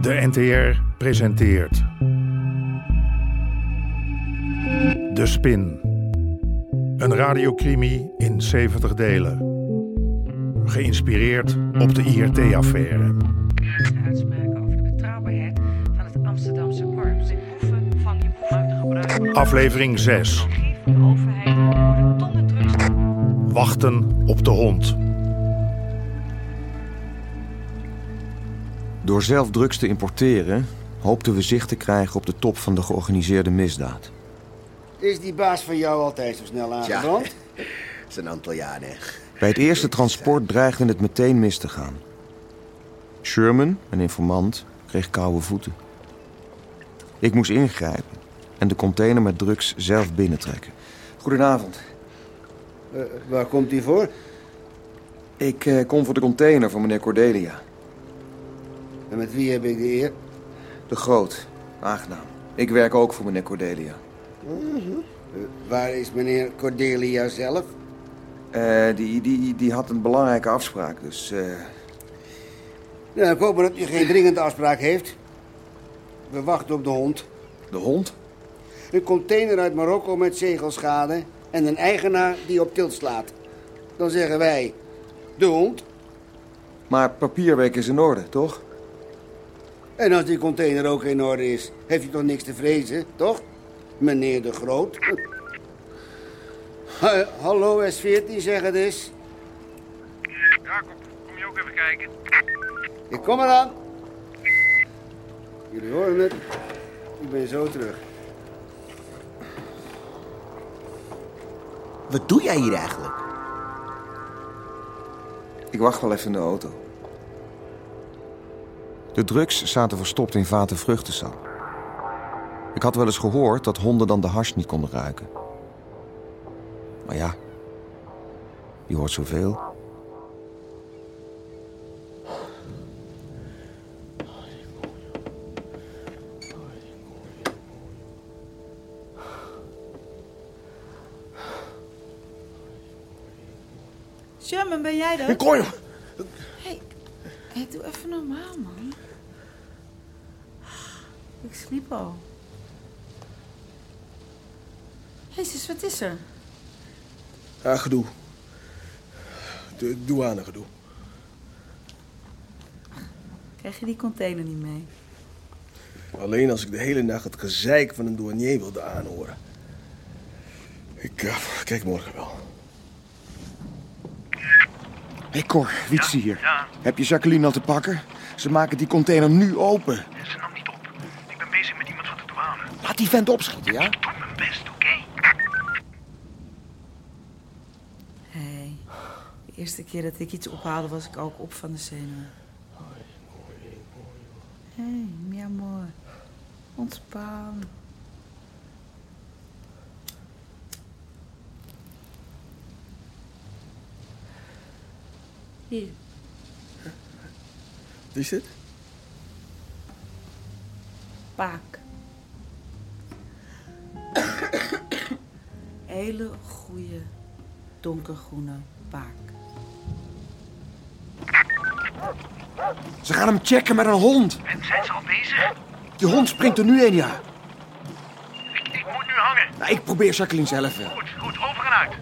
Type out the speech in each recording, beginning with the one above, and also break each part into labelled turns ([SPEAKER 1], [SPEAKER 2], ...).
[SPEAKER 1] De NTR presenteert. De Spin. Een radiocrimi in 70 delen. Geïnspireerd op de IRT-affaire.
[SPEAKER 2] graag uitspraken over de betrouwbaarheid van het Amsterdamse korps. Dus De boeven van die boeven uit de gebruik
[SPEAKER 1] Aflevering 6.
[SPEAKER 2] van de overheid worden tonnen drugs
[SPEAKER 1] Wachten op de hond.
[SPEAKER 3] Door zelf drugs te importeren hoopten we zicht te krijgen op de top van de georganiseerde misdaad.
[SPEAKER 4] Is die baas van jou altijd zo snel aangebrand?
[SPEAKER 5] Dat is een aantal jaren. hè.
[SPEAKER 3] Bij het eerste transport dreigde het meteen mis te gaan. Sherman, een informant, kreeg koude voeten. Ik moest ingrijpen en de container met drugs zelf binnentrekken. Goedenavond.
[SPEAKER 4] Eh, waar komt die voor?
[SPEAKER 3] Ik eh, kom voor de container van meneer Cordelia.
[SPEAKER 4] En met wie heb ik de eer?
[SPEAKER 3] De Groot. Aangenaam. Ik werk ook voor meneer Cordelia.
[SPEAKER 4] Eh, waar is meneer Cordelia zelf?
[SPEAKER 3] Eh, die, die, die had een belangrijke afspraak, dus... eh,
[SPEAKER 4] Nou, ik hoop maar dat u geen dringende afspraak heeft. We wachten op de hond.
[SPEAKER 3] de hond?
[SPEAKER 4] Een container uit Marokko met zegelschade en een eigenaar die op tilt slaat. Dan zeggen wij, de hond.
[SPEAKER 3] Maar papierwerk is in orde, toch?
[SPEAKER 4] En als die container ook in orde is, heeft u toch niks te vrezen, toch? Meneer de Groot. Ha- Hallo S14, zeg het eens.
[SPEAKER 6] Jacob, Eh, kom je ook even kijken?
[SPEAKER 4] Ik kom eraan. Jullie horen het. Ik ben zo terug.
[SPEAKER 5] Wat doe jij hier eigenlijk?
[SPEAKER 3] Ik wacht wel even in de auto. De drugs zaten verstopt in vaten vruchtensap. Ik had wel eens gehoord dat honden dan de hars niet konden ruiken. Maar ja, je hoort zoveel.
[SPEAKER 7] Sherman, ben jij dat?
[SPEAKER 3] Kooi!
[SPEAKER 7] Hey, hey, doe even normaal, man. Ik sliep al. Jezus, wat is er?
[SPEAKER 8] Ja, gedoe. De douane gedoe.
[SPEAKER 7] Krijg je die container niet mee?
[SPEAKER 8] Alleen als ik de hele nacht het gezeik van een douanier wilde aanhoren. Ik eh, kijk morgen wel.
[SPEAKER 3] Hé Cor, Wietse hier.
[SPEAKER 6] ja.
[SPEAKER 3] Heb je Jacqueline al te pakken? Ze maken die container nu open.
[SPEAKER 6] Ze nam niet op. Ik ben bezig met iemand van de douane.
[SPEAKER 3] Laat die vent opschieten, ja?
[SPEAKER 6] Doe mijn best, oké?
[SPEAKER 7] Hé, hey, de eerste keer dat ik iets ophaalde was ik ook op van de zenuwen. Hé, hey, mi amor. Ontspan. Hier,
[SPEAKER 8] Wat is dit?
[SPEAKER 7] paak. Hele goede donkergroene paak.
[SPEAKER 3] Ze gaan hem checken met een hond.
[SPEAKER 6] En zijn ze al bezig?
[SPEAKER 3] Die hond springt er nu in, ja.
[SPEAKER 6] Ik, ik moet nu hangen.
[SPEAKER 3] Nou, ik probeer Jacqueline zelf wel.
[SPEAKER 6] Goed, goed, over en uit.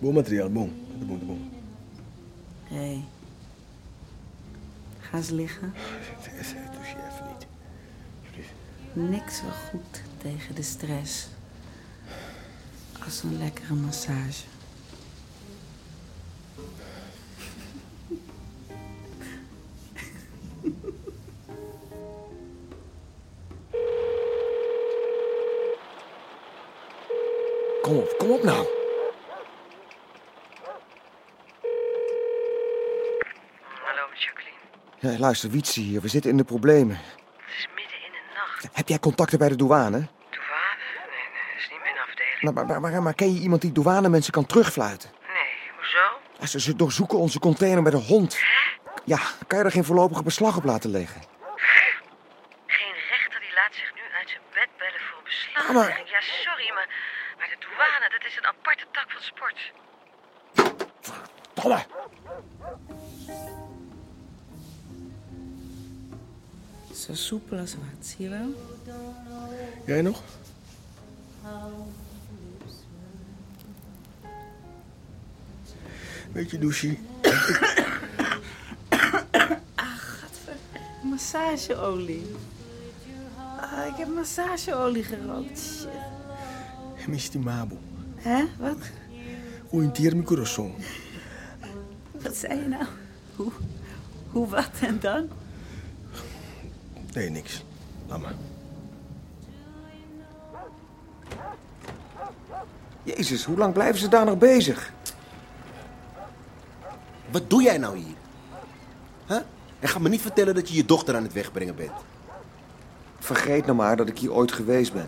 [SPEAKER 8] Boommateriaal, boom. De boom, de boom.
[SPEAKER 7] Hé. Hey. Gaan ze liggen?
[SPEAKER 8] Doe je eh, even niet.
[SPEAKER 7] Niks zo goed tegen de stress als een lekkere massage.
[SPEAKER 3] Kom op, kom op nou.
[SPEAKER 2] Hallo, met Jacqueline.
[SPEAKER 3] Ja, luister, Wietse hier. We zitten in de problemen.
[SPEAKER 2] Het is midden in de nacht.
[SPEAKER 3] Heb jij contacten bij de douane?
[SPEAKER 2] Douane? Nee, nee, dat is niet mijn afdeling.
[SPEAKER 3] Nou, maar, maar, maar, maar ken je iemand die douanemensen kan terugfluiten?
[SPEAKER 2] Nee, hoezo?
[SPEAKER 3] Ja, Ze, ze doorzoeken onze container met een hond. Ja, kan je er geen voorlopige beslag op laten leggen?
[SPEAKER 2] Geen rechter die laat zich nu uit zijn bed bellen voor beslag.
[SPEAKER 3] Ja, maar-
[SPEAKER 2] Ja, sorry, maar Maar de douane, dat is een aparte tak van sport.
[SPEAKER 8] Tomme!
[SPEAKER 7] Zo soepel als wat, zie je wel?
[SPEAKER 8] Jij nog? Weet je, douche,
[SPEAKER 7] Massageolie. Ah, ik heb massageolie gerookt. Shit.
[SPEAKER 8] mi estimabo,
[SPEAKER 7] Hè? Wat?
[SPEAKER 8] orienteer mijn corazon.
[SPEAKER 7] Wat zei je nou? Hoe, hoe wat en dan?
[SPEAKER 8] Nee, niks. Laat maar.
[SPEAKER 3] Jezus, hoe lang blijven ze daar nog bezig?
[SPEAKER 5] Wat doe jij nou hier? Huh? En ga me niet vertellen dat je je dochter aan het wegbrengen bent.
[SPEAKER 3] Vergeet nou maar dat ik hier ooit geweest ben.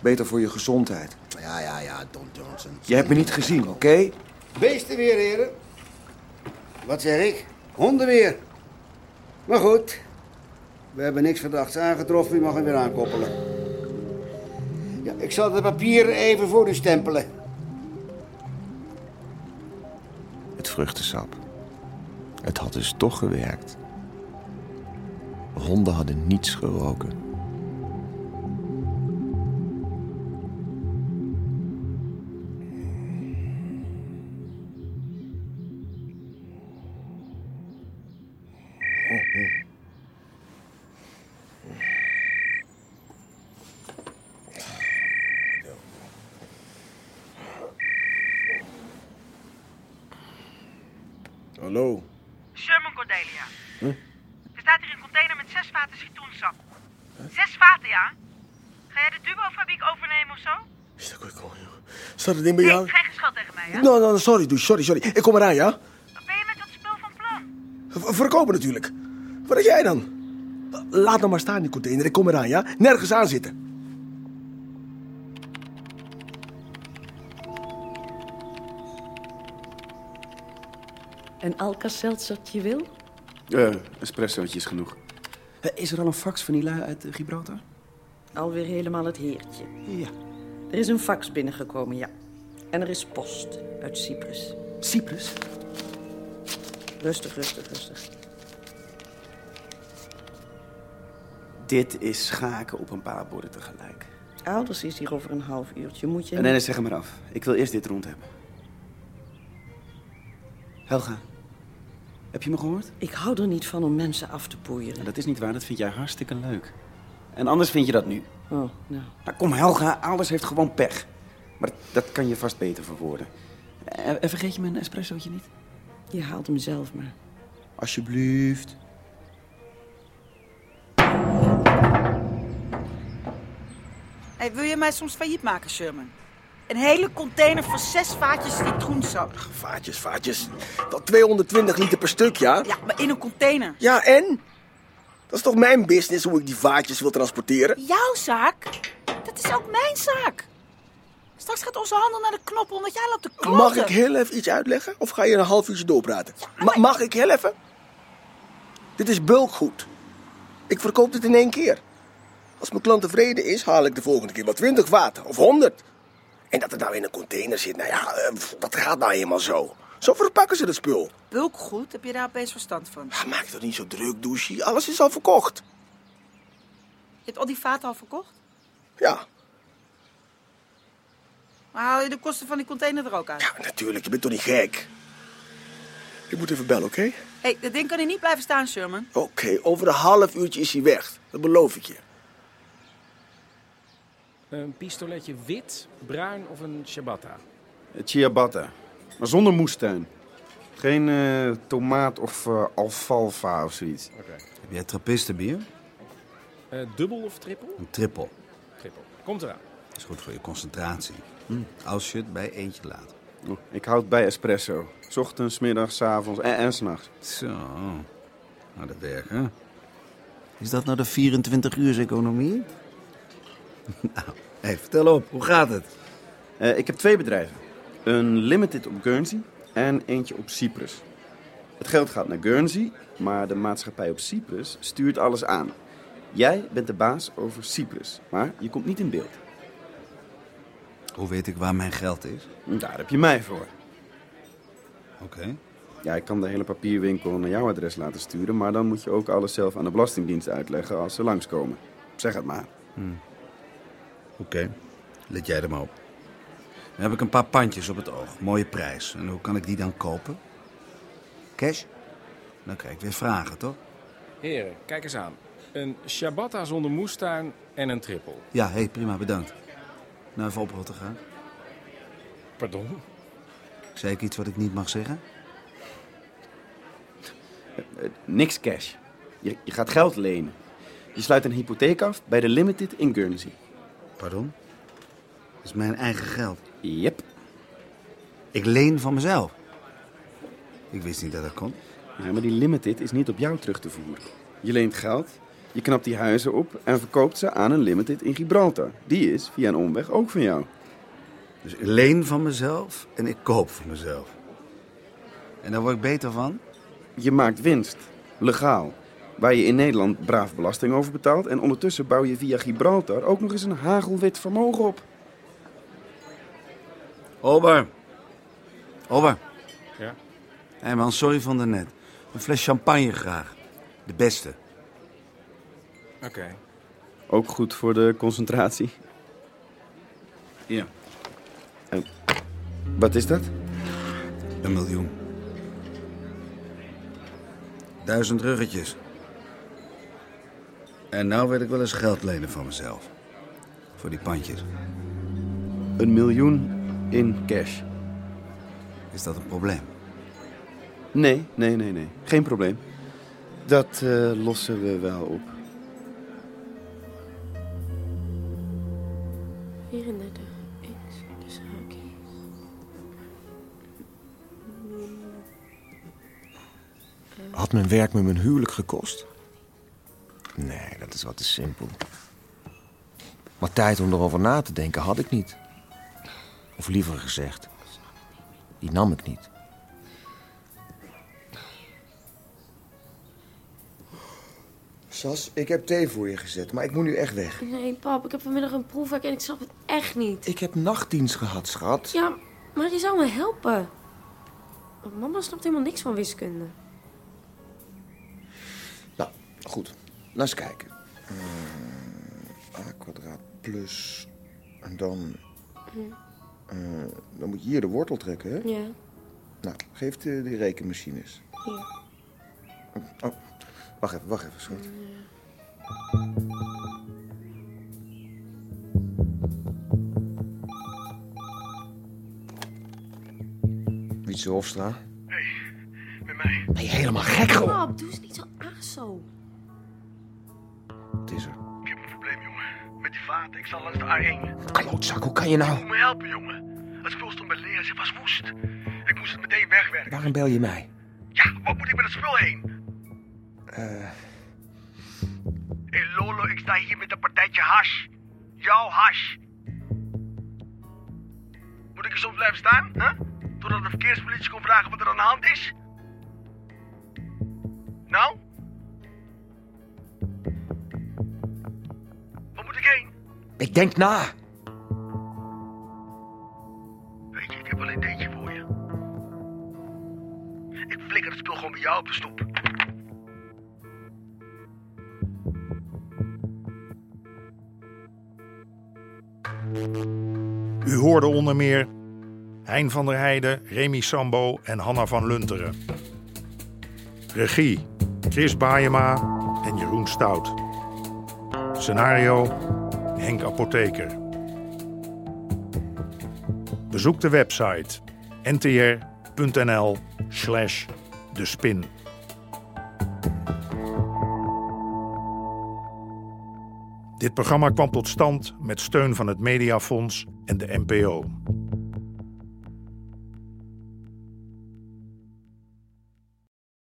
[SPEAKER 3] Beter voor je gezondheid.
[SPEAKER 5] Ja, ja, ja, Don Johnson.
[SPEAKER 3] Je hebt me niet gezien, oké?
[SPEAKER 4] Beesten weer, heren. Wat zeg ik? Honden weer. Maar goed, we hebben niks verdachts aangetroffen. U mag hem weer aankoppelen. Ja, ik zal de papieren even voor u stempelen.
[SPEAKER 3] Het vruchtensap. Het had dus toch gewerkt. Honden hadden niets geroken.
[SPEAKER 8] Hallo.
[SPEAKER 2] Sherman Cordelia. Er staat hier een container met zes vaten citroensap. Zes vaten, ja? Ga jij de Dubo-fabriek overnemen of zo?
[SPEAKER 8] Is dat goed, joh? Staat het ding bij
[SPEAKER 2] Nee,
[SPEAKER 8] jou?
[SPEAKER 2] geen geschil tegen mij, hè?
[SPEAKER 8] No, no, sorry, douche, sorry, sorry. Ik kom eraan, ja?
[SPEAKER 2] Wat ben je met dat spul van plan?
[SPEAKER 8] V- verkopen natuurlijk. Wat denk jij dan? Laat nou maar staan, die container. Ik kom eraan, ja? Nergens aan zitten.
[SPEAKER 9] Een Alka-seltzertje wil?
[SPEAKER 10] Eh, espressootje is genoeg. Hé, Is er al een fax van die lui uit eh, Gibraltar?
[SPEAKER 9] Alweer helemaal het heertje.
[SPEAKER 10] Ja.
[SPEAKER 9] Er is een fax binnengekomen, ja. En er is post uit Cyprus.
[SPEAKER 10] Cyprus?
[SPEAKER 9] Rustig, rustig, rustig.
[SPEAKER 10] Dit is schaken op een paar borden tegelijk.
[SPEAKER 9] Ouders is hier over een half uurtje. Moet je...
[SPEAKER 10] Nee, nee, zeg hem maar af. Ik wil eerst dit rond hebben. Helga, heb je me gehoord?
[SPEAKER 9] Ik hou er niet van om mensen af te poeieren.
[SPEAKER 10] dat is niet waar, dat vind jij hartstikke leuk. En anders vind je dat nu.
[SPEAKER 9] Oh, nou.
[SPEAKER 10] Nou, kom Helga, alles heeft gewoon pech. Maar dat kan je vast beter verwoorden. Eh, En en vergeet je mijn espressootje niet?
[SPEAKER 9] Je haalt hem zelf maar.
[SPEAKER 10] Alsjeblieft.
[SPEAKER 11] Hey, wil je mij soms failliet maken, Sherman? Een hele container van zes vaatjes citroensap.
[SPEAKER 8] Vaatjes, vaatjes. Dat 220 liter per stuk, ja?
[SPEAKER 11] Ja, maar in een container.
[SPEAKER 8] Ja, en? Dat is toch mijn business hoe ik die vaatjes wil transporteren?
[SPEAKER 11] Jouw zaak? Dat is ook mijn zaak. Straks gaat onze handel naar de knop omdat jij loopt te kloppen.
[SPEAKER 8] Mag ik heel even iets uitleggen? Of ga je een half uurtje doorpraten? Ma- mag ik heel even? Dit is bulkgoed. Ik verkoop dit in één keer. Als mijn klant tevreden is, haal ik de volgende keer wel 20 vaten of 100. En dat het nou in een container zit, nou ja, eh, pff, dat gaat nou eenmaal zo. Zo verpakken ze het spul.
[SPEAKER 11] Bulkgoed, heb je daar opeens verstand van?
[SPEAKER 8] Ah, maak je toch niet zo druk, douche. Alles is al verkocht.
[SPEAKER 11] Je hebt al die vaten al verkocht?
[SPEAKER 8] Ja,
[SPEAKER 11] Maar haal je de kosten van die container er ook uit?
[SPEAKER 8] ja natuurlijk. Je bent toch niet gek? Ik moet even bellen, oké?
[SPEAKER 11] Hé, hey, dat ding kan hier niet blijven staan, Sherman.
[SPEAKER 8] Oké, over een half uurtje is hij weg. Dat beloof ik je.
[SPEAKER 12] Een pistoletje wit, bruin of een ciabatta?
[SPEAKER 10] Ciabatta. Maar zonder moestuin. Geen eh, tomaat of eh, alfalfa of zoiets.
[SPEAKER 12] Heb
[SPEAKER 5] jij trappistenbier?
[SPEAKER 12] Eh, dubbel of trippel?
[SPEAKER 5] Een trippel.
[SPEAKER 12] Trippel. Komt eraan.
[SPEAKER 5] Is goed voor je concentratie. Hm, Als je het bij eentje laat.
[SPEAKER 10] Oh, Ik houd bij espresso. 's Ochtends, 's middags, 's avonds en, en s'nachts.
[SPEAKER 5] Zo. Nou, dat werkt, hè? Is dat nou de 24-uurs-economie? nou, hey, vertel op. Hoe gaat het?
[SPEAKER 10] Eh, ik heb twee bedrijven. Een limited op Guernsey en eentje op Cyprus. Het geld gaat naar Guernsey, maar de maatschappij op Cyprus stuurt alles aan. Jij bent de baas over Cyprus, maar je komt niet in beeld.
[SPEAKER 4] Hoe weet ik waar mijn geld is?
[SPEAKER 10] Daar heb je mij voor.
[SPEAKER 4] Oké.
[SPEAKER 10] Ja, ik kan de hele papierwinkel naar jouw adres laten sturen, maar dan moet je ook alles zelf aan de Belastingdienst uitleggen als ze langskomen. Zeg het maar.
[SPEAKER 4] Oké, let jij er maar op. Dan heb ik een paar pandjes op het oog. Mooie prijs. En hoe kan ik die dan kopen? Cash? Dan krijg ik weer vragen, toch?
[SPEAKER 13] Heren, kijk eens aan. Een ciabatta zonder moestuin en een trippel.
[SPEAKER 4] Ja, hé, prima, bedankt. Nou, even oprotten gaan.
[SPEAKER 13] Pardon?
[SPEAKER 4] Zei ik iets wat ik niet mag zeggen?
[SPEAKER 10] Eh, niks cash. Je, je gaat geld lenen. Je sluit een hypotheek af bij de Limited in Guernsey.
[SPEAKER 4] Pardon? Dat is mijn eigen geld.
[SPEAKER 10] Yep.
[SPEAKER 4] Ik leen van mezelf. Ik wist niet dat dat kon.
[SPEAKER 10] Nee, maar die Limited is niet op jou terug te voeren. Je leent geld, je knapt die huizen op en verkoopt ze aan een Limited in Gibraltar. Die is via een omweg ook van jou.
[SPEAKER 4] Dus ik leen van mezelf en ik koop van mezelf. En daar word ik beter van?
[SPEAKER 10] Je maakt winst. Legaal. Waar je in Nederland braaf belasting over betaalt. En ondertussen bouw je via Gibraltar ook nog eens een hagelwit vermogen op.
[SPEAKER 4] Ober. Ober.
[SPEAKER 13] Ja?
[SPEAKER 4] Hé man, sorry van daarnet. Een fles champagne graag. De beste.
[SPEAKER 13] Oké.
[SPEAKER 10] Ook goed voor de concentratie.
[SPEAKER 4] Ja.
[SPEAKER 10] Wat is dat?
[SPEAKER 4] Een miljoen. Duizend ruggetjes. En nou weet ik wel eens geld lenen van mezelf. Voor die pandjes.
[SPEAKER 10] Een miljoen in cash.
[SPEAKER 4] Is dat een probleem?
[SPEAKER 10] Nee, nee, nee, nee. Geen probleem. Dat eh, lossen we wel op.
[SPEAKER 9] 34 x dus haakjes.
[SPEAKER 14] Had mijn werk me mijn huwelijk gekost? Nee, dat is wat te simpel. Maar tijd om erover na te denken had ik niet. Of liever gezegd, die nam ik niet.
[SPEAKER 3] Sas, ik heb thee voor je gezet, maar ik moet nu echt weg.
[SPEAKER 9] Nee, pap, ik heb vanmiddag een proefwerk en ik snap het echt niet.
[SPEAKER 3] Ik heb nachtdienst gehad, schat.
[SPEAKER 9] Ja, maar je zou me helpen. Want Mama snapt helemaal niks van wiskunde.
[SPEAKER 3] Nou, goed. Laat eens kijken. Eh, a kwadraat plus... En dan...
[SPEAKER 9] Hm.
[SPEAKER 3] eh, dan moet je hier de wortel trekken, hè?
[SPEAKER 9] Ja,
[SPEAKER 3] Nou, geef de, die rekenmachine eens.
[SPEAKER 9] hier.
[SPEAKER 3] Oh, wacht even, wacht even, schat. Wietse Hofstra. Ben je helemaal gek geworden?
[SPEAKER 9] Pap, doe eens niet zo aso.
[SPEAKER 3] Het is er.
[SPEAKER 8] Met die vaart, ik zal langs de A1.
[SPEAKER 3] Klootzak, hoe kan je nou?
[SPEAKER 8] Moet me helpen, jongen. Het spul stond bij Lea, ze was woest. Ik moest het meteen wegwerken.
[SPEAKER 3] Waarom bel je mij?
[SPEAKER 8] Ja, wat moet ik met het spul heen?
[SPEAKER 3] Eh,
[SPEAKER 8] Hé Lolo, ik sta hier met een partijtje hash. Jouw hash. Moet ik er soms blijven staan, hè? Totdat de verkeerspolitie komt vragen wat er aan de hand is? Nou? Waar moet ik heen?
[SPEAKER 3] ik denk na.
[SPEAKER 8] Weet je, ik heb wel een ideetje voor je. Ik flikker het spul gewoon bij jou op de stoep.
[SPEAKER 1] U hoorde onder meer Hein van der Heijden, Remy Sambo en Hanna van Lunteren. Regie Chris Baayema en Jeroen Stout. Scenario Henk Apotheker. Bezoek de website ntr.nl slash de spin. Dit programma kwam tot stand met steun van het Mediafonds en de NPO.